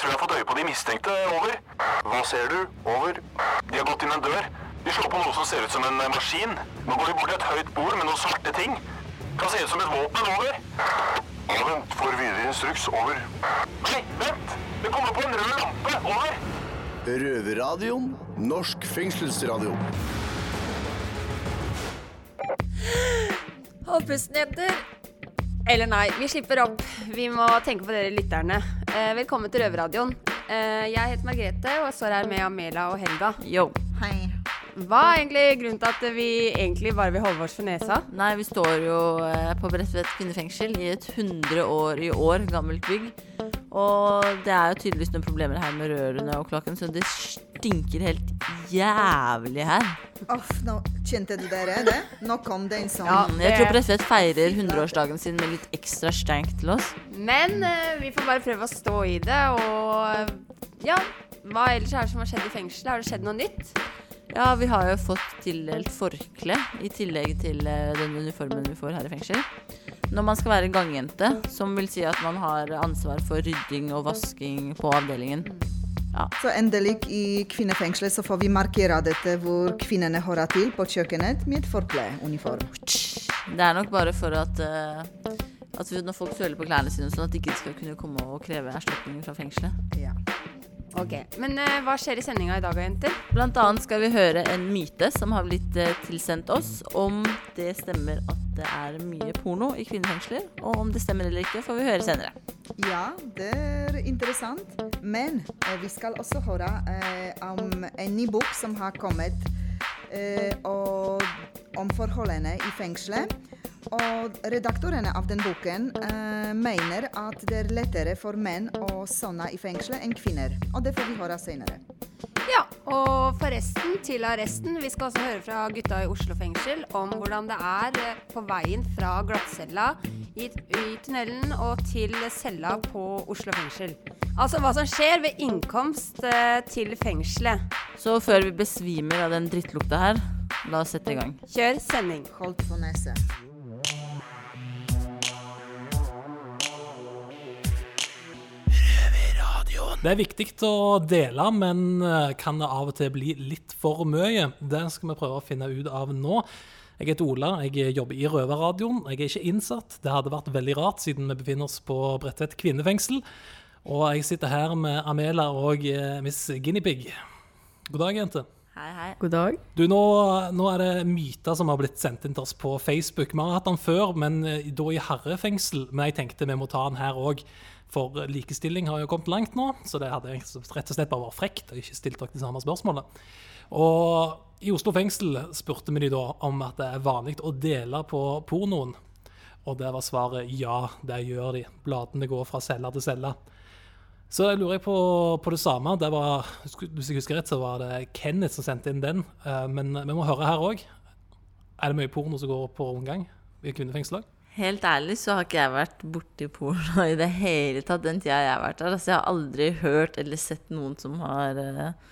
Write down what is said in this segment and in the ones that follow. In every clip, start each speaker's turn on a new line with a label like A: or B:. A: tror jeg har fått øye på de mistenkte. Over. Hva ser du? Over. De har gått inn en dør. De slår på noe som ser ut som en eh, maskin. Nå går de bort til et høyt bord med noen svarte ting. Kan se ut som et våpen. Over. Vent, får videre instruks. Over. Nei, vent! Det kommer på en rød lampe. Over.
B: Røverradioen. Norsk fengselsradio.
C: Hold pusten, jenter. Eller nei, vi slipper opp. Vi må tenke på dere lytterne. Eh, velkommen til Røverradioen. Eh, jeg heter Margrethe og står her med Amela og Helga.
D: Yo.
E: Hei.
C: Hva er egentlig grunnen til at vi egentlig bare vil holde oss for nesa?
D: Nei, vi står jo eh, på Bredtvet kvinnefengsel i et 100 år i år gammelt bygg. Og det er jo tydeligvis noen problemer her med rørene og kloakken, så det stinker helt jævlig her.
E: Uff, nå kjente dere det? Nå No, kom det en sånn
C: Ja.
D: Mm, Jeg tror
C: det-
D: Bredtvet feirer 100-årsdagen sin med litt ekstra stank til oss.
C: Men eh, vi får bare prøve å stå i det, og ja. Hva ellers er det som har skjedd i fengselet? Har det skjedd noe nytt?
D: Ja, vi har jo fått tildelt forkle i tillegg til eh, den uniformen vi får her i fengsel. Når man skal være gangjente, som vil si at man har ansvar for rydding og vasking på avdelingen.
E: Så endelig i kvinnefengselet så får vi markere dette hvor kvinnene hører til på kjøkkenet med forkleuniform.
D: Det er nok bare for at, eh, at vi- når folk søler på klærne sine, sånn at de ikke skal kunne komme og kreve erstatning fra fengselet.
E: Ja.
C: Ok, Men eh, hva skjer i sendinga i dag, jenter?
D: Blant annet skal vi høre en myte som har blitt eh, tilsendt oss, om det stemmer at det er mye porno i kvinnefengsler. Og om det stemmer eller ikke, får vi høre senere.
E: Ja, det er interessant. Men eh, vi skal også høre eh, om en ny bok som har kommet eh, og om forholdene i fengselet. Og redaktørene av den boken eh, mener at det er lettere for menn å sone i fengselet enn kvinner. Og det får vi høre senere.
C: Ja, og forresten til arresten. Vi skal også høre fra gutta i Oslo fengsel om hvordan det er eh, på veien fra glattcella i, i tunnelen og til cella på Oslo fengsel. Altså hva som skjer ved innkomst eh, til fengselet.
D: Så før vi besvimer av den drittlukta her, la oss sette i gang.
C: Kjør sending.
E: Holdt for nese.
D: Sånn.
F: Det er viktig å dele, men eh, kan det av og til bli litt for mye. Det skal vi prøve å finne ut av nå. Jeg heter Ola, jeg jobber i Røverradioen. Jeg er ikke innsatt. Det hadde vært veldig rart, siden vi befinner oss på Bredtvet kvinnefengsel. Og jeg sitter her med Amela og eh, Miss Guinepeig. God dag, jente.
D: Hei, hei.
C: God dag.
F: Du, nå, nå er det myter som har blitt sendt inn til oss på Facebook. Vi har hatt den før, men eh, da i herrefengsel. Men jeg tenkte vi må ta den her òg, for likestilling har jo kommet langt nå. Så det hadde egentlig rett og slett bare vært frekt å ikke stilt dere det samme spørsmålet. Og i Oslo fengsel spurte vi de da om at det er vanlig å dele på pornoen. Og der var svaret ja, det gjør de. Bladene går fra celle til celle. Så jeg lurer jeg på, på det samme. Det var, sku- hvis jeg husker rett, så var det Kenneth som sendte inn den. Eh, Men vi må høre her òg. Er det mye porno som går på omgang i kvinnefengsel òg?
D: Helt ærlig så har ikke jeg vært borti porno i det hele tatt den tida jeg har vært der. Altså, jeg har aldri hørt eller sett noen som har eh,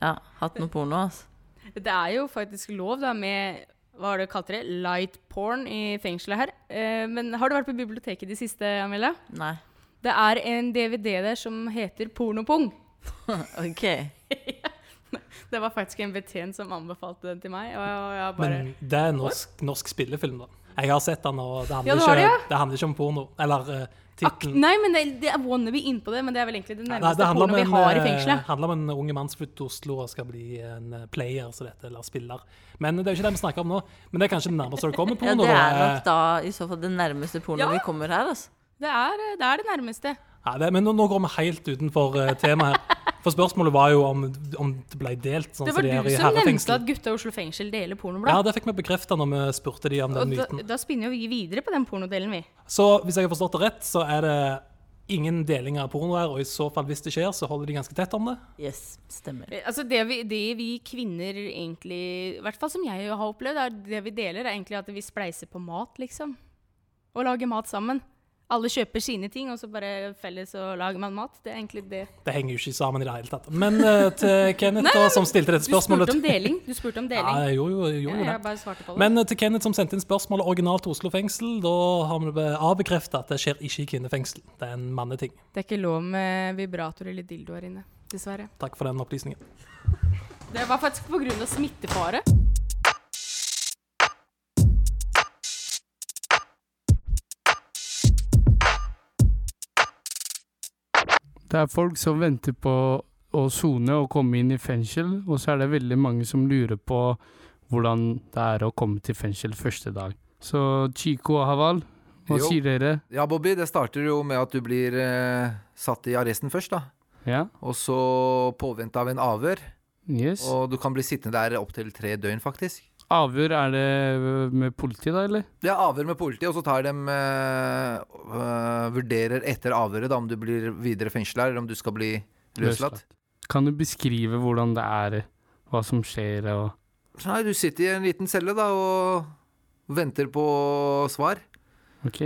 D: ja, hatt noe porno. Altså.
G: Det er jo faktisk lov da med hva har du kalt det? Light porn i fengselet her. Eh, men har du vært på biblioteket i det siste, Amelia?
D: Nei.
G: Det er en DVD der som heter Pornopung.
D: OK.
G: Det var faktisk en betjent som anbefalte den til meg. Og jeg jeg bare
F: Men det er norsk, norsk spillefilm, da. Jeg har sett den, og det handler,
G: Ja, du har det,
F: ikke,
G: ja?
F: det handler ikke om porno. Eller uh,
G: Ak,
F: tittelen.
G: nei, men det, det er wannabe innpå det, men det er vel egentlig det
F: Nei,
G: nærmeste
F: det handler om
G: porno vi
F: en,
G: har i
F: eh,
G: fengselet.
F: handler om en unge mann som flytter til Oslo og skal bli en eh, player, så dette, eller spiller. Men det er jo ikke det vi snakker om nå. Men det er kanskje det nærmeste det kommer
D: Ja,
F: porno.
D: det
F: da.
D: er
F: eh,
D: nok da i så fall det nærmeste porno
G: Ja.
D: vi kommer her. Altså.
G: Det er, eh, det er det nærmeste.
F: Ja, det, men nå, nå går vi helt utenfor eh, temaet her. For spørsmålet var jo om, om det ble delt, sånn
G: Det
F: som
G: var
F: det er
G: du
F: i
G: som nevnte
F: herrefengsel.
G: at gutta i Oslo fengsel deler
F: Ja,
G: pornoblad.
F: det fikk vi bekrefta når vi spurte de om den
G: og da,
F: myten.
G: da spinner jo vi videre på den pornodelen, vi.
F: Så hvis jeg har forstått det rett, så er det ingen deling av porno her, og i så fall, hvis det skjer, så holder de ganske tett om det.
D: Yes, stemmer.
G: Eh, Altså det vi, det vi kvinner egentlig, i hvert fall som jeg har opplevd, er det vi deler, er egentlig at vi spleiser på mat, liksom. Og lager mat sammen. Alle kjøper sine ting, og så bare felles og lager man mat. Det er egentlig det.
F: Det henger jo ikke sammen i det hele tatt. Men eh, til Kenneth, da, som stilte dette
G: Du spurte
F: spørsmålet
G: om deling. Du spurte om
F: Ja,
G: deling.
F: jeg gjorde jo, jeg
G: Ja,
F: gjorde jo det.
G: jeg bare svarte på det.
F: Men eh, til Kenneth som sendte inn spørsmålet originalt til Oslo fengsel, da har vi be- avbekreftet at det skjer ikke i kvinnefengsel. Det er en manneting.
G: det er ikke lov med vibrator eller dildoer inne. Dessverre.
F: Takk for den opplysningen.
G: Det var faktisk pga. smittefare.
H: Det er folk som venter på å sone og komme inn i fengsel, og så er det veldig mange som lurer på hvordan det er å komme til fengsel første dag. Så Chico og Haval, hva
I: Jo.
H: sier dere?
I: Ja, Bobby, det starter jo med at du blir eh, satt i arresten først, da.
H: Ja?
I: Og så påvente av en avhør.
H: Yes?
I: Og du kan bli sittende der opptil tre døgn, faktisk.
H: Avhør er det med politi, da, eller?
I: Det er avhør med politiet, og så tar de eh, øh, Vurderer etter avhøret da, om du blir videre fengsla, eller om du skal bli løslatt.
H: Kan du beskrive hvordan det er, hva som skjer og
I: Nei, du sitter i en liten celle da og venter på svar.
H: OK?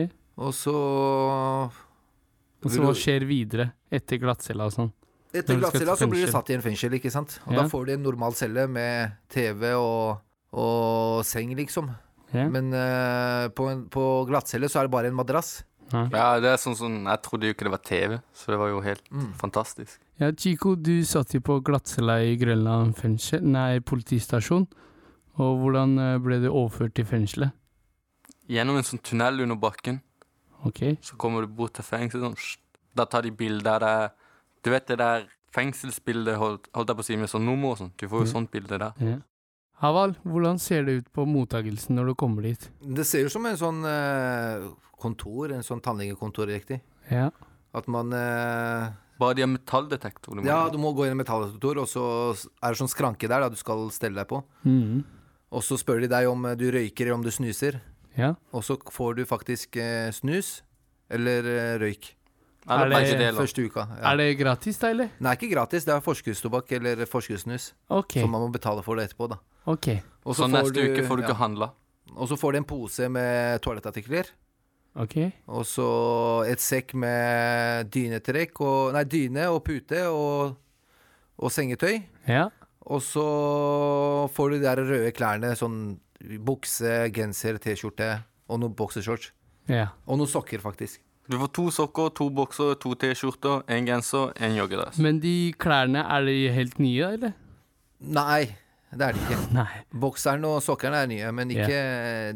I: Og så
H: Og så altså, hva skjer videre etter glattcella og sånn?
I: Etter
H: Når du skal til
I: glattcella så blir du
H: fengsel.
I: satt i en fengsel, ikke sant. Og
H: Ja.
I: da får du en normal celle med TV og, og seng, liksom.
H: Ja?
I: Men eh, på, en, på glattcelle så er det bare en madrass.
J: Ja, det er sånn som Jeg trodde jo ikke det var TV, så det var jo helt
I: Mm.
J: fantastisk.
H: Ja, Chico, du satt jo på glattcella i Grønland fengsel, nei, politistasjon. Og hvordan eh, ble du overført til fengselet?
J: Gjennom en sånn tunnel under bakken,
H: Ok,
J: så kommer du bort til fengsel. Sånn, sst. da tar de bilder der Du vet det der fengselsbildet, holdt, holdt jeg på å si, med sånn nummer og sånn. Du får jo
H: Mm.
J: sånt bilde der.
H: ja. Haval, hvordan ser det ut på mottagelsen når du kommer dit?
I: Det ser jo som en sånn eh, kontor, en sånn tannlegekontor, riktig.
H: Ja,
I: At man eh,
J: Bare de har metalldetektor. du må-
I: Ja, du må gå inn i metalldetektor, og så er det sånn skranke der da du skal stelle deg på.
H: Mhm.
I: Og så spør de deg om eh, du røyker eller om du snuser.
H: ja.
I: Og så får du faktisk eh, snus eller eh, røyk
J: Eller
H: Er det
J: begge deler.
I: første uka. Ja.
H: Er det gratis da, eller?
I: Nei, ikke gratis. Det er forskuddstobakk eller forskuddssnus.
H: Ok,
I: Så man må betale for det etterpå, da.
H: ok.
I: Og
J: Så neste uke får du
I: ja.
J: ikke handla.
I: Og så får du en pose med toalettartikler.
H: Ok,
I: Og så et sekk med dynetrekk og Nei, dyne og pute og, og sengetøy.
H: ja.
I: Og så får du de der røde klærne. Sånn bukse, genser, T-skjorte og noen boksershorts.
H: Ja,
I: Og noen sokker, faktisk.
J: Du får to sokker, to bokser, to T-skjorter, en genser, en joggedress.
H: men de klærne, er de helt nye, da, eller?
I: Nei, det er det ikke.
H: Nei,
I: Bokseren og sokkerne er nye, men ikke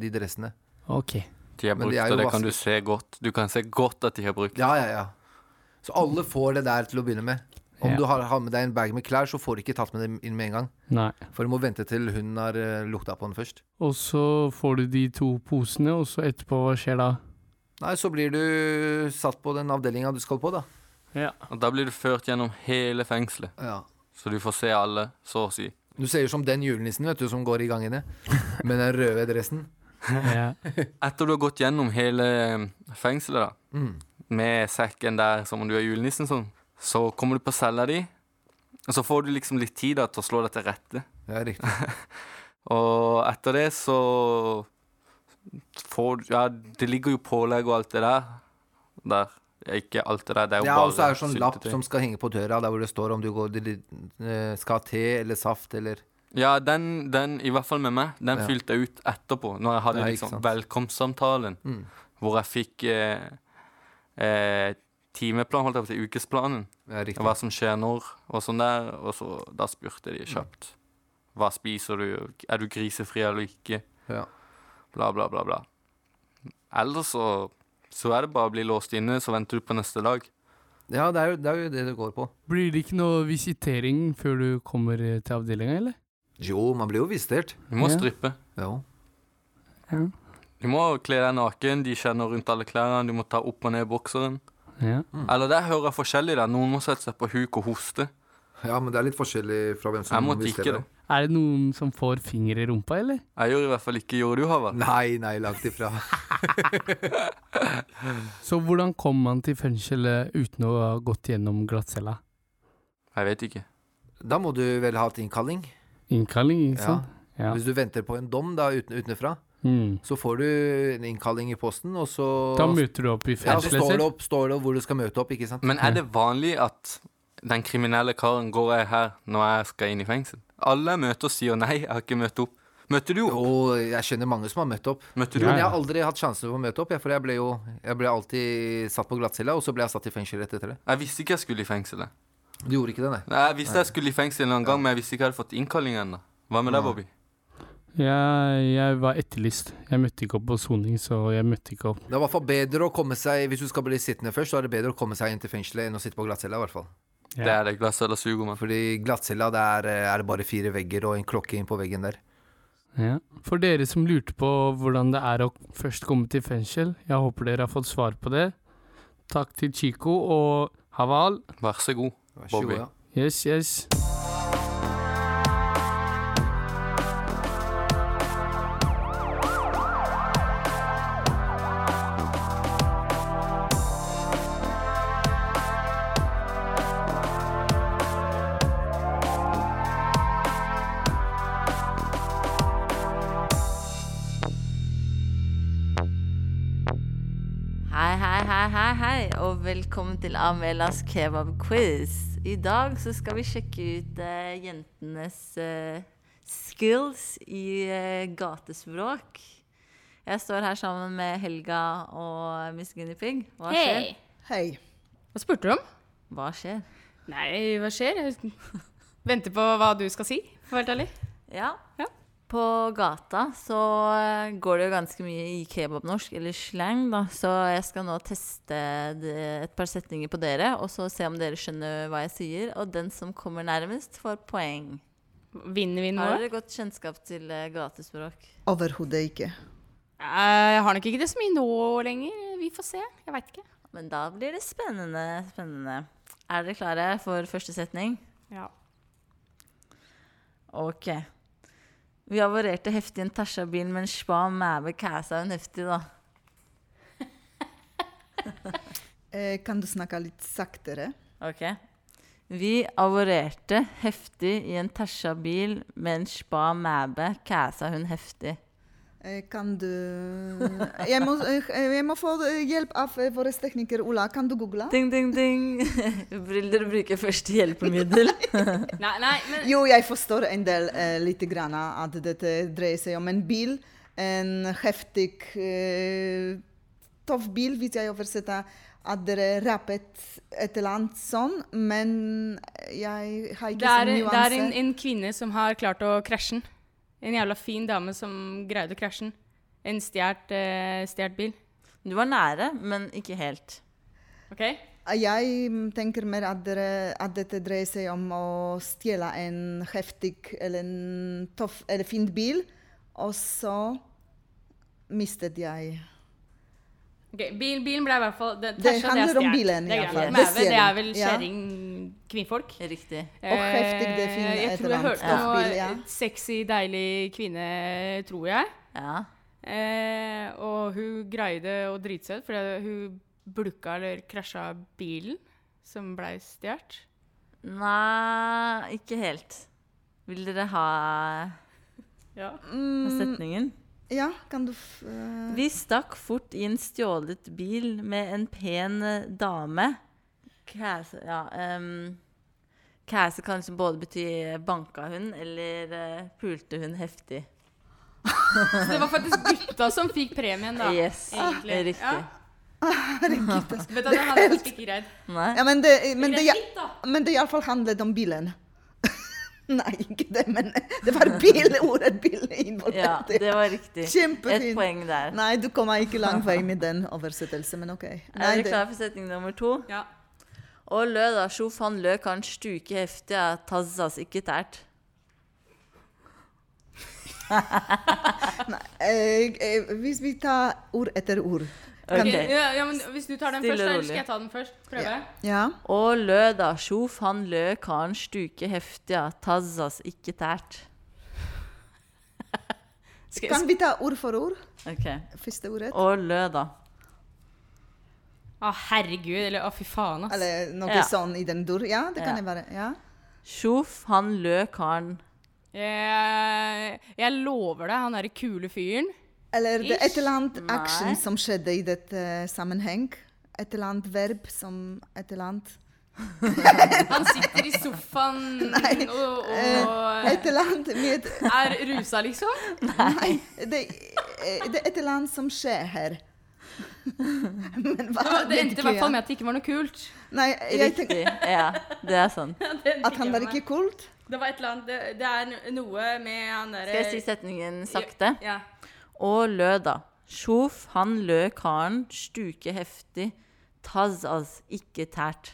I: de dressene.
H: ok.
J: De har
I: Men
J: brukt,
I: de
J: og
I: er jo
J: det kan du
I: vasket.
J: se godt. Du kan se godt at de har brukt.
I: Ja, ja, ja. Så alle får det der til å begynne med. Om
H: Ja.
I: du har, har med deg en bag med klær, så får du ikke tatt med dem inn med en gang.
H: Nei.
I: For du må vente til hun har eh, lukta på den først.
H: Og så får du de to posene, og så etterpå, hva skjer da?
I: Nei, så blir du satt på den avdelinga du skal på, da.
H: Ja.
J: Og da blir du ført gjennom hele fengselet, så du får se alle, så å si.
I: Du ser jo som den julenissen vet du, som går i gangene med den røde dressen.
H: Ja,
J: Etter du har gått gjennom hele eh, fengselet, da,
I: Mm.
J: med sekken der som om du er julenissen, sånn, så kommer du på cella di, og så får du liksom litt tid da, til å slå deg til rette.
I: Ja, riktig.
J: Og etter det så får du Ja, det ligger jo pålegg og alt det der. Der. Ja, Ikke alt det der, det er jo
I: Ja,
J: bare
I: og så er det sånn lapp
J: syltetøy.
I: som skal henge på døra, der hvor det står om du går, eh, skal ha te eller saft eller
J: Ja, den, den, i hvert fall med meg, den
I: Ja.
J: fylte jeg ut etterpå. Når jeg hadde
I: Ja, ikke
J: liksom
I: sant.
J: velkomstsamtalen,
I: Mm.
J: hvor jeg fikk eh, eh, timeplan, holdt jeg på å si, ukesplanen.
I: ja, riktig.
J: Hva som skjer når, og sånn der. Og så da spurte
I: Mm.
J: de kjapt. Hva spiser du? Er du grisefri eller ikke?
I: Ja.
J: Bla, bla, bla, bla. Ellers så, så er det bare å bli låst inne, så venter du på neste dag.
I: ja det, er jo, det er jo det det går på.
H: Blir det ikke noe visitering før du kommer eh, til avdelingen, eller?
I: Jo, man blir jo visitert.
J: Du må
H: Ja.
J: strippe.
I: Jo.
J: Du må kle deg naken, de kjenner rundt alle klærne, du må ta opp og ned bokseren.
H: Ja.
I: Mm.
J: Eller der hører jeg forskjellig der. Noen må sette seg på huk og hoste.
I: Ja, men det er litt forskjellig fra hvem
J: Jeg måtte ikke det.
H: Er det noen som får finger i rumpa, eller?
J: Jeg gjør i hvert fall ikke gjorde du, Havard.
I: Nei, nei, langt ifra.
H: Så hvordan kom man til fengselet uten å ha gått gjennom glattcella?
J: Jeg vet ikke.
I: Da må du vel ha hatt innkalling.
H: Innkalling, ikke sant? Ja.
I: Hvis du venter på en dom da uten, utenfra.
H: Mm.
I: Så får du en innkalling i posten, og så
H: Da møter du opp i
I: ja, så
H: fengselet
I: står det
H: selv.
I: opp, står det opp hvor du skal møte opp, ikke sant?
J: Men er det vanlig at den kriminelle karen går jeg her når jeg skal inn i fengsel? Alle jeg møter sier nei, jeg har ikke møtt opp. Møtte du opp?
I: Og jeg skjønner mange som har møtt opp.
J: Møtte du
H: Ja,
I: Men jeg
J: opp?
I: har aldri hatt sjansen for å møte opp, jeg, for jeg ble jo jeg ble alltid satt på glattcella, og så ble jeg satt i fengsel rett etter det.
J: Jeg visste ikke jeg skulle i fengselet.
I: Du gjorde ikke det, nei?
J: Nei, Jeg visste jeg skulle i fengsel en gang, men jeg visste ikke jeg hadde fått innkalling ennå. Hva med deg, Bobby?
H: Jeg, jeg var etterlyst. Jeg møtte ikke opp på soning, så jeg møtte ikke opp.
I: Det er i hvert fall bedre å komme seg Hvis du skal bli sittende først, så er det bedre å komme seg inn til fengselet enn å sitte på glattcella, i hvert fall.
H: Ja.
J: Det er det glasset eller sugermann.
I: Fordi glattcella, det er, er det bare fire vegger og en klokke inn på veggen der.
H: Ja. For dere som lurte på hvordan det er å først komme til fengsel, jeg håper dere har fått svar på det. Takk til Chico og Haval.
J: Vær så god.
I: Vær så
J: Bobby.
I: god, ja.
H: Yes, yes.
D: Hei, hei, hei, hei, hei, og velkommen til Amelas kebabquiz. I dag så skal vi sjekke ut eh, jentenes eh, skills i eh, gatespråk. Jeg står her sammen med Helga og Miss Guinea Pig. Hva skjer?
G: Hei!
E: Hei.
G: Hva spurte du om?
D: Hva skjer?
G: Nei, hva skjer? Jeg Venter på hva du skal si, for å være helt ærlig.
D: Ja.
G: Ja.
D: På gata så eh, går det jo ganske mye i kebabnorsk, eller slang, da. Så jeg skal nå teste det- et par setninger på dere, og så se om dere skjønner hva jeg sier. Og den som kommer nærmest, får poeng.
G: Vinner vi
D: Har
G: noe?
D: dere godt kjennskap til eh, gatespråk?
E: Overhodet ikke.
G: Eh, Jeg har nok ikke det så mye nå lenger. Vi får se. Jeg veit ikke.
D: Men da blir det spennende, spennende. Er dere klare for første setning?
G: Ja.
D: Ok. Vi avarerte heftig en Tasha-bil, men spa mæve kæsa hun heftig, da.
E: Eh, kan du snakke litt saktere?
D: Ok. Vi avarerte heftig i en Tasha-bil, men spa mæve kæsa hun heftig.
E: Eh, kan du jeg må, eh, jeg må få eh, hjelp av eh, vår tekniker Ola. Kan du google?
D: Ding, ding, ding. Vil dere bruke første hjelpemiddel?
G: Nei, nei, men
E: Jo, jeg forstår en del eh, lite grann at dette dreier seg om en bil. En heftig, eh, tøff bil, hvis jeg oversetter at dere rappet et eller annet sånn. Men jeg har
G: det
E: ikke sånn
G: er, det er en,
E: nuanse.
G: en kvinne som har klart å krasje den. En jævla fin dame som greide å krasje den. En stjålet eh, stjert bil.
D: Du var nære, men ikke helt.
G: OK?
E: Jeg mm, tenker mer at, dere, at dette dreier seg om å stjele en heftig eller en tøff eller fin bil, og så mistet jeg
G: Ok, bil, bilen ble i hvert fall Det,
E: Det
G: Tasha, er
E: handler om
G: stjert.
E: bilen,
G: Det er
E: i hvert
G: greit.
E: fall. Det
G: Mæve,
E: ser
G: det er
E: jeg.
G: vel
E: Ja.
G: kjerring kvinnfolk.
D: Riktig.
E: Og heftig, det finner
G: Eh,
E: et
G: Jeg tror jeg
E: eller
G: hørte
E: annet
G: noe eh,
E: bil, ja.
G: sexy, deilig kvinne, tror jeg.
D: Ja.
G: Eh, og hun greide å drite seg ut fordi hun blukka eller krasja bilen som blei stjålet.
D: Nei, ikke helt. Vil dere ha
G: Ja.
D: setningen?
E: Ja, kan du f eh,
D: Vi stakk fort i en stjålet bil med en pen eh, dame. Kæse, ja, ehm, kæse kan liksom både bety banka hun eller eh, pulte hun heftig.
G: Så det var faktisk gutta som fikk premien, da.
D: yes,
G: egentlig.
D: riktig.
G: Ja.
E: altså.
G: Vet du, det hadde jeg faktisk ikke greid.
D: Nei.
E: Ja, men det, eh, men det,
G: Greit litt, da.
E: men det iallfall handlet om bilen. Nei, ikke det, men det var bil, ordet bil
D: Ja,
E: involvert.
D: det var riktig.
E: Kjempefint.
D: Et poeng der.
E: Nei, du kommer ikke langt vei med den oversettelsen, men OK. Nei,
D: Er dere
E: det-
D: klare for setning nummer to?
G: Ja.
D: Og lørdagssjof han løk han stuke heftig av tazzas ikke tært.
E: Eh, eh, hvis vi tar ord etter ord. Kan-
D: Ok.
G: Ja, ja, men hvis du tar den
D: Stille
G: først,
D: og
G: eller
D: rolig.
G: skal jeg ta den først? Prøve?
E: Ja.
D: Og lørdagssjof han løk han stuke heftig av tazzas ikke tært.
G: Skal,
E: Kan vi ta ord for ord?
D: Ok.
E: Første ordet?
D: Og løda.
G: Å, herregud. Eller å, fy faen, ass.
E: Eller noe
D: Ja.
E: sånn i den dur? Ja, det
D: Ja.
E: kan det være. Ja.
D: Sjof, han løk han
G: Jeg, jeg lover deg, han derre kule fyren
E: Eller det er et eller annet
D: Ish. Nei.
E: action som skjedde i dette sammenheng. Et eller annet verb som et eller annet
G: Han sitter i sofaen og,
E: Eh, Et
G: og
E: eller annet med
G: er rusa, liksom.
E: Nei. Det, eh, det er et eller annet som skjer her. Men hva
G: Det, var, det
E: vet
G: endte i
E: ikke
G: hvert fall
E: jeg.
G: med at det ikke var noe kult.
E: Nei, jeg tenker
D: Riktig. Ja, det er sånn.
E: at han var ikke kult.
G: Det var et eller annet Det, det er noe med han derre
D: Skal jeg si setningen sakte?
G: Ja.
D: Og lø, da. Sjof, han lø karen, stuke heftig. Taz, az, ikke tært.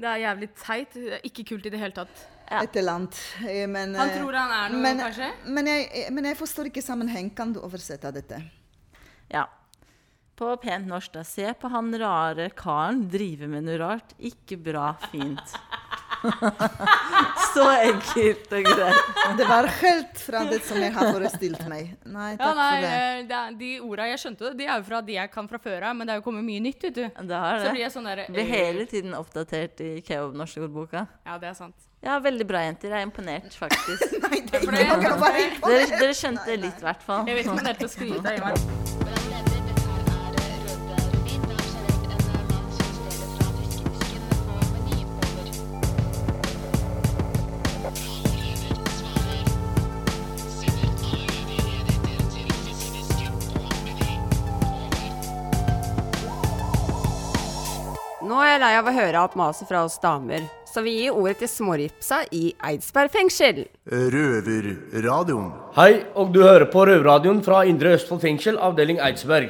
G: Det er jævlig teit. Det er Ikke kult i det hele tatt.
E: Et eller annet. eh, Men,
G: Han
E: eh,
G: tror han er noe,
E: men,
G: kanskje?
E: Men jeg, eh, men jeg forstår ikke sammenheng. Kan du oversette dette?
D: Ja. På pent norsk, da. Se på han rare karen drive med noe rart. Ikke bra fint. Så enkelt og greit.
E: Det var helt fra det som jeg har forestilt meg. Nei,
G: Ja,
E: takk
G: nei,
E: for det.
G: eh, det er, De orda jeg skjønte, det, de er jo fra de jeg kan fra før av, men det er jo kommet mye nytt, vet du.
D: Det har
G: Så blir
D: det.
G: jeg sånn derre
D: Blir hele tiden oppdatert i Keov-norske ordboka.
G: Ja, det er sant.
D: Ja, veldig bra, jenter. Jeg er imponert, faktisk.
E: Nei, det er
G: For
E: ikke noe å være
D: Dere, dere skjønte litt, i hvert fall.
G: Jeg vet ikke om det er til å skryte av meg.
C: Nå er jeg lei av å høre alt maset fra oss damer, så vi gir ordet til småripsa i Eidsberg fengsel.
B: Røverradioen.
K: Hei, og du hører på Røverradioen fra Indre Østfold fengsel, avdeling Eidsberg.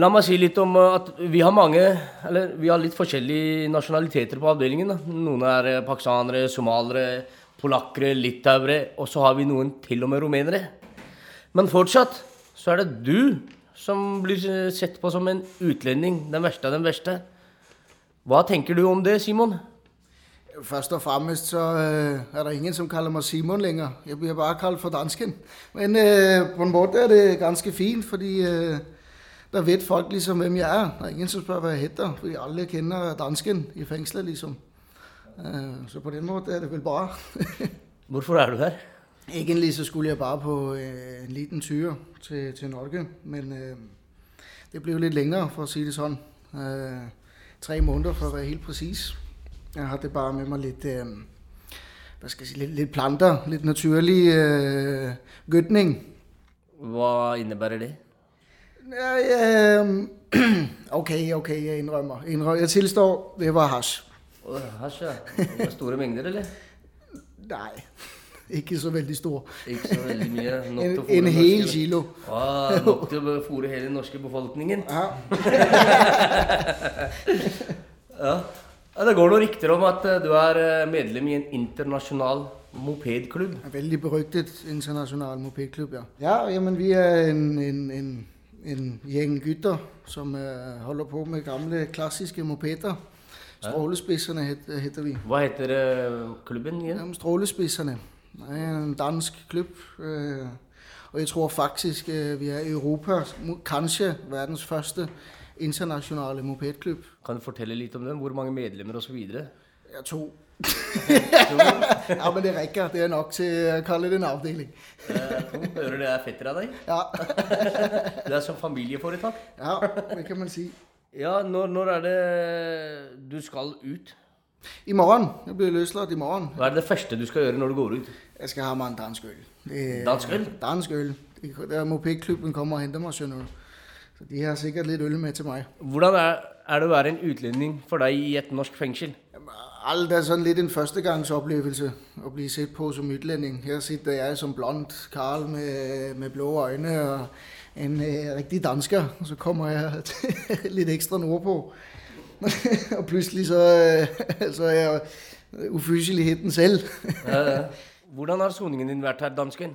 K: La meg si litt om eh, at vi har mange, eller vi har litt forskjellige nasjonaliteter på avdelingen. da. Noen er eh, pakistanere, somalere, polakkere, litauere, og så har vi noen til og med rumenere. Men fortsatt så er det du som blir eh, sett på som en utlending. Den verste av den verste. Hva tenker du om det, Simon?
L: Først og fremmest så øh, er der ingen, som kalder mig Simon længere. Jeg bliver bare kaldt for dansken. Men øh, på en måde er det ganske fint, fordi øh, der ved folk ligesom, hvem jeg er. Der er ingen, som spørger, hvad jeg hedder, fordi alle kender dansken i fængslet ligesom. Øh, så på den måde er det vel bare.
K: Hvorfor er du her?
L: Egentlig så skulle jeg bare på øh, en liten tyre til, til Norge, men øh, det blev lidt længere, for at sige det sådan. Øh, tre måneder, for at være helt præcis. Jeg har det bare med mig lidt, øh, hvad skal jeg sige, lidt, lidt planter, lidt naturlig øh, gødning.
K: Hva innebærer det?
L: Ja, ja, øhm, okay, okay, jeg indrømmer. indrømmer. Jeg tilstår, det var hash.
K: Åh, Hasj, ja. Det var Store mengder, eller?
L: Nej, ikke så vældig stor.
K: Ikke så veldig mye. Nok
L: En,
K: til å fôre
L: en hel
K: norske-
L: kilo.
K: Ah, nok til å fôre hele den norske befolkningen.
L: Ja.
K: Ja. ja det går noen rykter om at eh, du er eh, medlem i en internasjonal mopedklubb.
L: En vældig berygtet international mopedklub, ja. Ja, jamen vi er en, en, en, en gæng gytter, som øh, holder på med gamle klassiske mopeder. Strålespidserne hed, hedder vi.
K: Hva heter eh, klubben igjen?
L: Jamen, strålespidserne. Det er en dansk klub, øh, og jeg tror faktisk, øh, vi er Europas, mu- kanskje verdens første internationale mopedklub.
K: Kan du fortelle litt om den? Hvor mange medlemmer osv.?
L: Jeg to. ja, men det rækker. Det er nok til at kalde det en afdeling.
K: Hører det er fetter av deg?
L: Ja,
K: Det er som familieforetak.
L: ja det kan man sige.
K: Ja, når, når er det du skal ut?
L: I morgen. Jeg bliver løsladt i morgen.
K: Hva er det første du skal gjøre når du går ut?
L: Jeg skal have mig en dansk øl. Det er-
K: Dansk øl?
L: Dansk øl. Det er- Der mopedklubben kommer og henter mig sådan noget. Så de har sikkert lidt øl med til mig.
K: Hvordan er, er det å være en utlending for deg i et norsk fengsel?
L: Alt er sådan lidt en førstegangsoplevelse at blive set på som udlænding. Her sitter jeg som blond Karl med, med blå øjne og en øh, rigtig dansker, og så kommer jeg lidt ekstra nordpå. og pludselig så, øh, så er jeg ufyselig i den selv.
K: Eh, Hvordan har soningen din vært her, dansken?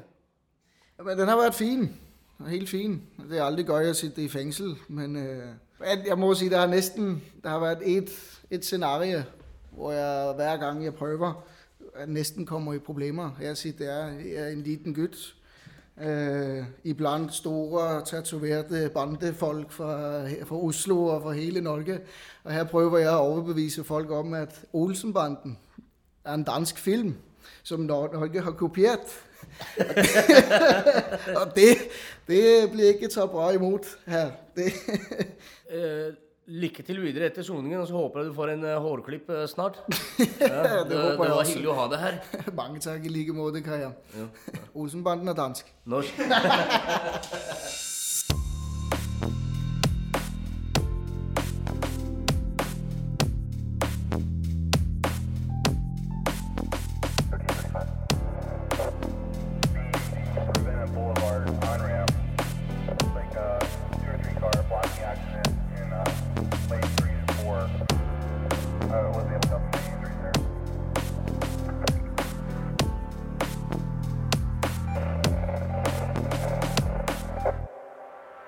L: Men den har været fin. Den er Helt fin. Det er aldrig godt at sitte i fængsel, men øh, men jeg må sige, der har næsten der har været et, et scenarie, hvor jeg hver gang jeg prøver, at næsten kommer i problemer. Jeg siger, det er, jeg er en liten gyt. Øh, iblandt store, tatoverte bandefolk fra, fra Oslo og fra hele Norge. Og her prøver jeg at overbevise folk om, at Olsenbanden er en dansk film, som Nor- Norge har kopieret. og det, det bliver ikke så bra imod her. Det,
K: Eh, lykke til videre etter soningen, og så håper jeg du får en eh, hårklipp eh, snart. Ja, det, det,
L: håper jeg
K: var
L: også.
K: hyggelig å ha deg her.
L: Mange tak i lige måde, Kaja. Olsenbanden er dansk.
K: Norsk.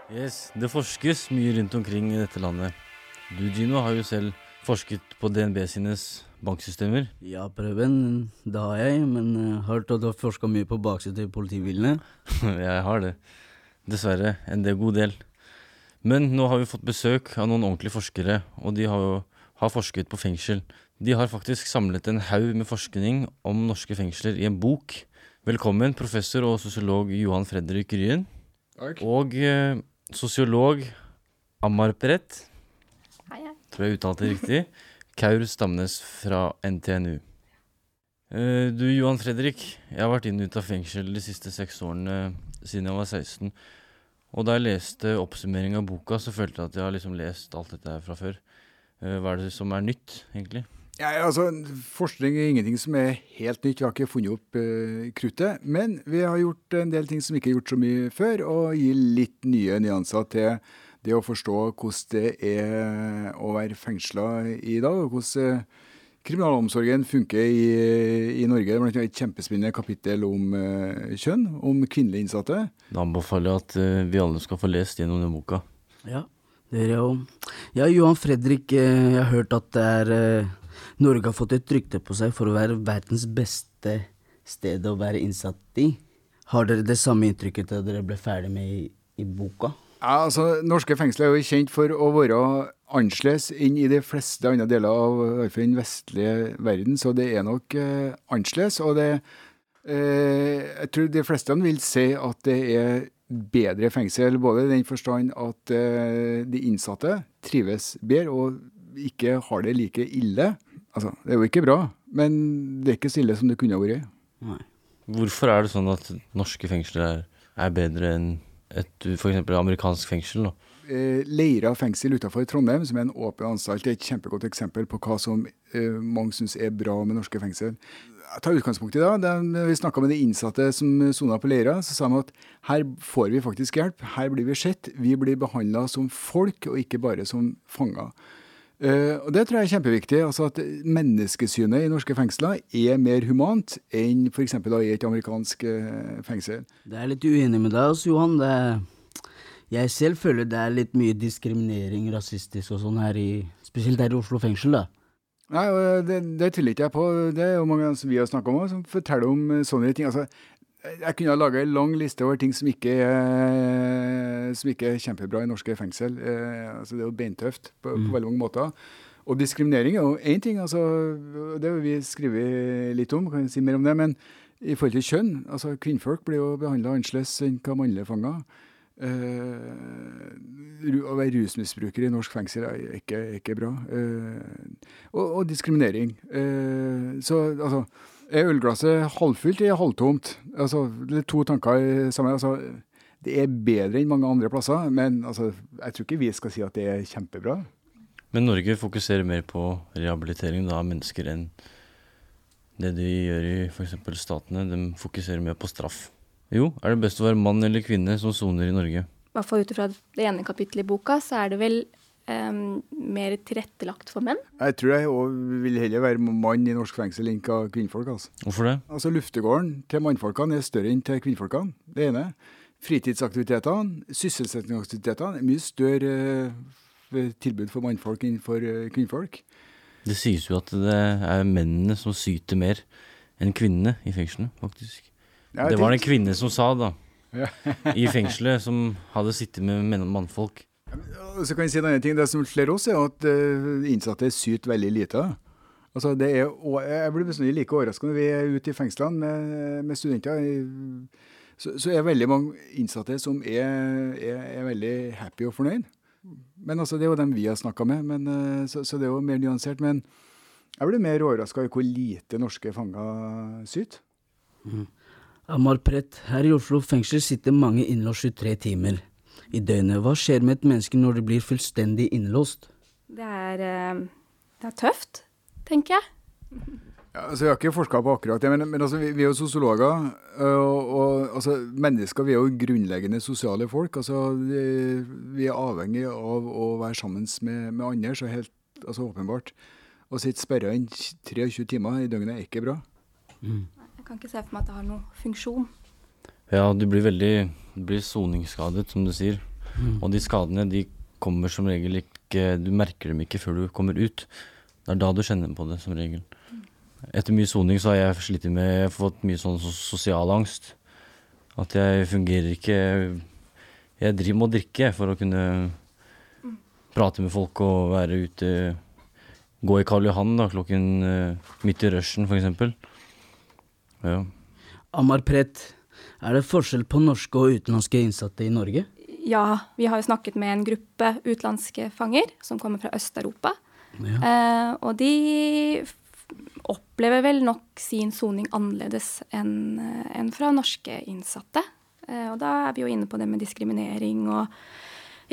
M: Yes, Det forskes mye rundt omkring i dette landet. Du, Gino, har jo selv forsket på DNB sines banksystemer.
N: Ja, Preben, det har jeg, men eh, hørt at du har forska mye på baksetet i politibilene.
M: Jeg har det. Dessverre. En del god del. Men nå har vi fått besøk av noen ordentlige forskere, og de har, jo- har forsket på fengsel. De har faktisk samlet en haug med forskning om norske fengsler i en bok. Velkommen, professor og sosiolog Johan Fredrik Ryen.
O: Takk.
M: Og eh, sosiolog Amarpret.
P: Hei, hei.
M: Tror jeg uttalte det riktig. Kaur Stamnes fra NTNU. Eh, Du, Johan Fredrik, jeg har vært inn og ut av fengsel de siste seks årene eh, siden jeg var 16. Og da jeg leste oppsummeringen av boka, så følte jeg at jeg har liksom lest alt dette her fra før. Eh, Hva er det som er nytt, egentlig?
O: Ja, altså, forskning er ingenting som er helt nytt. Vi har ikke funnet opp eh, kruttet. Men vi har gjort en del ting som ikke er gjort så mye før, og gir litt nye nyanser til det å forstå hvordan det er eh, å være fengsla i dag, og hvordan eh, kriminalomsorgen funker i, i Norge. Det er blant annet et kjempespennende kapittel om eh, kjønn, om kvinnelige innsatte.
M: Da anbefaler jeg at eh, vi alle skal få lest gjennom den boka.
N: Ja, dere òg. Ja, Johan Fredrik, eh, jeg har hørt at det er eh, Norge har fått et rykte på seg for å være verdens beste sted å være innsatt i. Har dere det samme inntrykket da dere ble ferdig med i, i boka?
O: Ja, altså, Norske fengsler er jo kjent for å være annerledes enn i de fleste andre deler av i hvert fall den vestlige verden, så det er nok eh, annerledes. Og det, eh, jeg tror de fleste vil si at det er bedre fengsel, både i den forstand at eh, de innsatte trives bedre og ikke har det like ille. Altså, det er jo ikke bra, men det er ikke så ille som det kunne ha vært.
M: Hvorfor er det sånn at norske fengsler er, er bedre enn et f.eks. amerikansk fengsel? Da?
O: Eh, Leira fengsel utenfor Trondheim, som er en åpen anstalt, er et kjempegodt eksempel på hva som eh, mange syns er bra med norske fengsel. Jeg tar utgangspunkt i det. da når vi snakka med de innsatte som sona på Leira, så sa de at her får vi faktisk hjelp, her blir vi sett, vi blir behandla som folk og ikke bare som fanger. Eh, og Det tror jeg er kjempeviktig. altså At menneskesynet i norske fengsler er mer humant enn f.eks. i et amerikansk eh, fengsel.
N: Det er litt uenig med deg også, Johan. Det er, jeg selv føler det er litt mye diskriminering, rasistisk og sånn her i Spesielt her i Oslo fengsel, da.
O: Nei, og eh, det, det tviler ikke jeg på. Det er jo mange ganger som vi har snakka om, også, som forteller om eh, sånne ting. Altså, jeg kunne ha laga en lang liste over ting som ikke, er- som ikke er kjempebra i norske fengsel. Eh, Altså, det er jo beintøft på, på veldig mange måter. Og diskriminering er jo én ting, altså, og det har vi skrevet litt om, kan jeg si mer om det. Men i forhold til kjønn, altså kvinnfolk blir jo behandla annerledes enn hva mannlige fanger. Eh, ru- å være rusmisbruker i norsk fengsel er ikke, ikke bra. Eh, og, og diskriminering. Eh, så altså Er ølglasset halvfylt eller halvtomt? Altså, det er to tanker sammen. Altså, det er bedre enn mange andre plasser, men altså, jeg tror ikke vi skal si at det er kjempebra.
M: Men Norge fokuserer mer på rehabilitering da, av mennesker enn det de gjør i f.eks. statene. De fokuserer mer på straff. Jo, er det best å være mann eller kvinne som soner i Norge?
P: I hvert fall ut ifra det ene kapittelet i boka, så er det vel em, mer tilrettelagt for menn.
O: Jeg tror jeg også vil heller være mann i norsk fengsel enn hva kvinnfolk. Altså.
M: Hvorfor det?
O: Altså Luftegården til mannfolkene er større enn til kvinnfolkene. Det ene. Fritidsaktivitetene, sysselsettingsaktivitetene, er mye større eh, tilbud for mannfolk enn for eh, kvinnfolk.
M: Det sies jo at det er mennene som syter mer enn kvinnene i fengslene, faktisk.
O: Ja, jeg
M: det var det en
O: tenkte-
M: kvinne som sa, da.
O: Ja.
M: I fengselet, som hadde sittet med menn og mannfolk.
O: Og Så kan jeg si en annen ting. Det som slår oss, er at eh, innsatte syter veldig lite. Altså, det er, og jeg blir bestandig like overraska når vi er ute i fengslene med, med studenter. i- Så, så er veldig mange innsatte som er, er, er veldig happy og fornøyd. Men altså, Det er jo dem vi har snakka med, men, eh, så, så det er jo mer nyansert. Men jeg blir mer overraska i hvor lite norske fanger syter.
N: Mm. Amar Prett, her i Oslo fengsel sitter mange innlåst 23 timer i døgnet. Hva skjer med et menneske når det blir fullstendig innlåst?
P: Det er, eh, det er tøft, tenker jeg.
O: Ja, altså, jeg har ikke forska på akkurat det, men, men altså, vi, vi er jo sosiologer. øh, Og, og altså, mennesker vi er jo grunnleggende sosiale folk. Altså, vi- vi er avhengig av å være sammen med, med andre, så helt altså, åpenbart. Å sitte sperra inn 23 timer i døgnet er ikke bra.
P: Jeg kan ikke se for meg at det har noen funksjon.
M: Ja, du blir veldig du blir soningsskadet, som du sier.
N: Mm.
M: Og de skadene de kommer som regel ikke Du merker dem ikke før du kommer ut. Det er da du kjenner på det, som regel. Etter mye soning så har jeg slitt med Jeg har fått mye sånn sos- sosial angst. At jeg fungerer ikke Jeg driver med å drikke jeg, for å kunne prate med folk og være ute. Gå i Karl Johan da, klokken eh, midt i rushen, f.eks. Ja.
N: Amar Prett, er det forskjell på norske og utenlandske innsatte i Norge?
P: Ja, vi har jo snakket med en gruppe utenlandske fanger som kommer fra Øst-Europa. Eh, og de f- opplever vel nok sin soning annerledes enn eh, enn fra norske innsatte. Eh, og da er vi jo inne på det med diskriminering og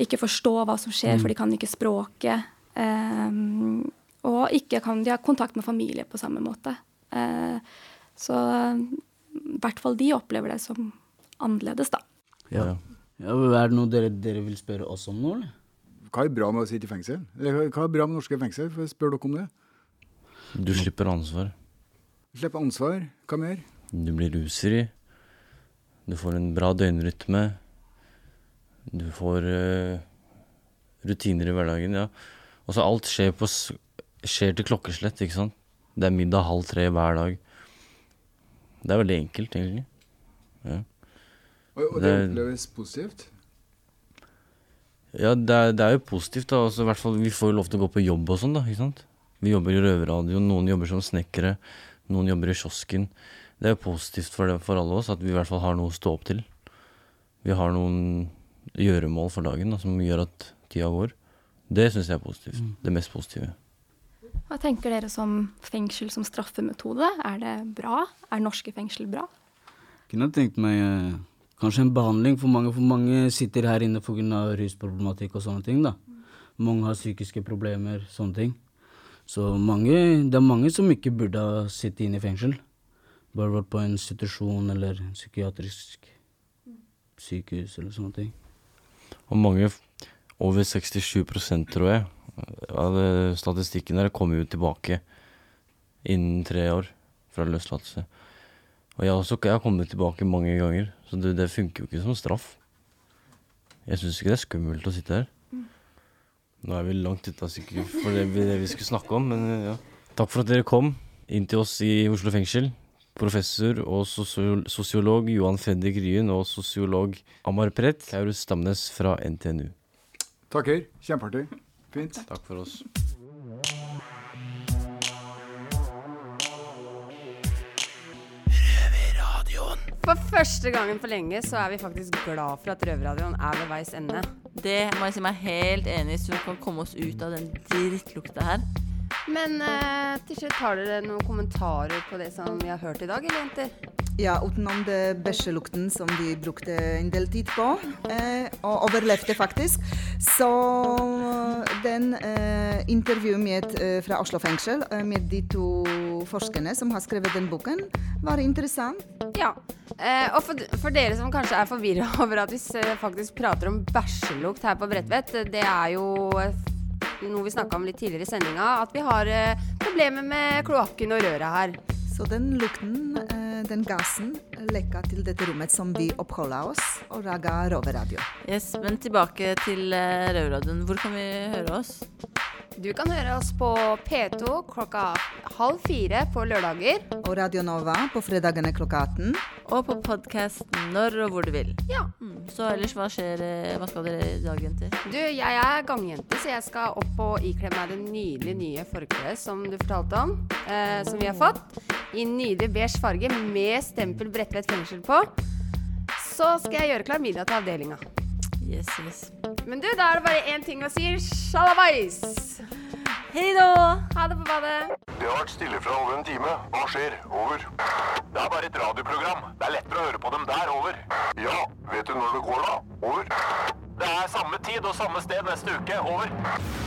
P: ikke forstå hva som skjer,
Q: Mm.
P: for de kan ikke språket. Eh, og ikke kan de ha kontakt med familie på samme måte. Eh, så eh, i hvert fall de opplever det som annerledes, da.
N: Ja. Ja, er det noe dere, dere vil spørre oss om nå, eller?
O: Hva er bra med å sitte i fengsel? Eller hva er bra med norske fengsel? For Spør dere om det.
M: Du slipper ansvar.
O: Slippe ansvar. Hva mer?
M: Du blir rusfri. Du får en bra døgnrytme. Du får eh, rutiner i hverdagen, ja. Og så alt skjer, på, s- skjer til klokkeslett, ikke sant. Det er middag halv tre hver dag. Det er veldig enkelt, egentlig. Ja,
O: Og, og det
M: Det-
O: oppleves positivt.
M: ja det, er, det er jo positivt, da. Altså, i hvert fall, vi får jo lov til å gå på jobb og sånn, da, ikke sant. Vi jobber i røverradioen, noen jobber som snekkere, noen jobber i kiosken. Det er jo positivt for, det, for alle oss at vi i hvert fall har noe å stå opp til. Vi har noen gjøremål for dagen da, som gjør at tida går. Det syns jeg er positivt. Det mest positive.
P: Hva tenker dere som fengsel som straffemetode? Er det bra? Er norske fengsel bra?
N: Kunne jeg tenkt meg eh, kanskje en behandling, for mange, for mange sitter her inne pga. rusproblematikk og sånne ting. da. Mange har psykiske problemer, sånne ting. Så mange, det er mange som ikke burde ha sittet inne i fengsel. Bare vært på en institusjon eller en psykiatrisk sykehus eller sånne ting.
M: Og mange, f- over 67 tror jeg, av det- statistikken der kommer jo tilbake innen tre år fra løslatelse. Og jeg, har også, jeg har kommet tilbake mange ganger, så det, det funker jo ikke som straff. Jeg syns ikke det er skummelt å sitte her. Nå er vi langt ute av sykkelen for det vi, det vi skulle snakke om, men ja. Takk for at dere kom inn til oss i Oslo fengsel. Professor og sosio- sosiolog Johan Fredrik Ryen og sosiolog Amar Prett, Kaurus Stamnes fra NTNU.
O: Takker. Kjempeartig. Fint.
M: Takk for oss.
C: For første gangen på lenge så er vi faktisk glad for at Røverradioen er ved veis ende.
D: Det må jeg si meg helt enig i, så vi kan komme oss ut av den drittlukta her.
C: Men eh, til slutt har dere noen kommentarer på det som vi har hørt i dag, eller jenter?
E: Ja, utenom det bæsjelukten som vi brukte en del tid på, eh, og overlevde faktisk. Så den eh, intervjuet med, eh, fra Oslo fengsel eh, med de to forskerne som har skrevet den boken, var interessant.
C: Ja. Eh, og for, for dere som kanskje er forvirra over at vi s- eh, faktisk prater om bæsjelukt her på Bredtvet, det er jo eh, noe vi snakka om litt tidligere i sendinga, at vi har eh, problemer med kloakken og røret her.
E: Så den lukten, eh, den gassen, lekka til dette rommet som vi oppholder oss, og laga roveradio.
D: Yes, men tilbake til eh, Røverradioen. Hvor kan vi høre oss?
C: Du kan høre oss på P2 klokka halv fire på lørdager.
E: Og Radio Nova på fredagene klokka 18.
D: Og på podkast når og hvor du vil.
C: Ja.
D: Mm, Så ellers, hva skjer eh, Hva skal dere i dag, jenter?
C: Du, jeg er gangjente, så jeg skal opp og ikle meg det nydelige nye forkleet som du fortalte om. Eh, som vi har fått. I nydelig beige farge med stempel Bredtvet fengsel på. Så skal jeg gjøre klar middag til avdelinga.
D: Yes, yes.
C: Men du, da er det bare én ting å si. Sjalabais!
D: Hei da!
C: Ha det på badet.
A: Det har vært stille fra over en time. Hva skjer? Over. Det er bare et radioprogram. Det er lettere å høre på dem der. Over. Ja, vet du når det går, da? Over. Det er samme tid og samme sted neste uke. Over.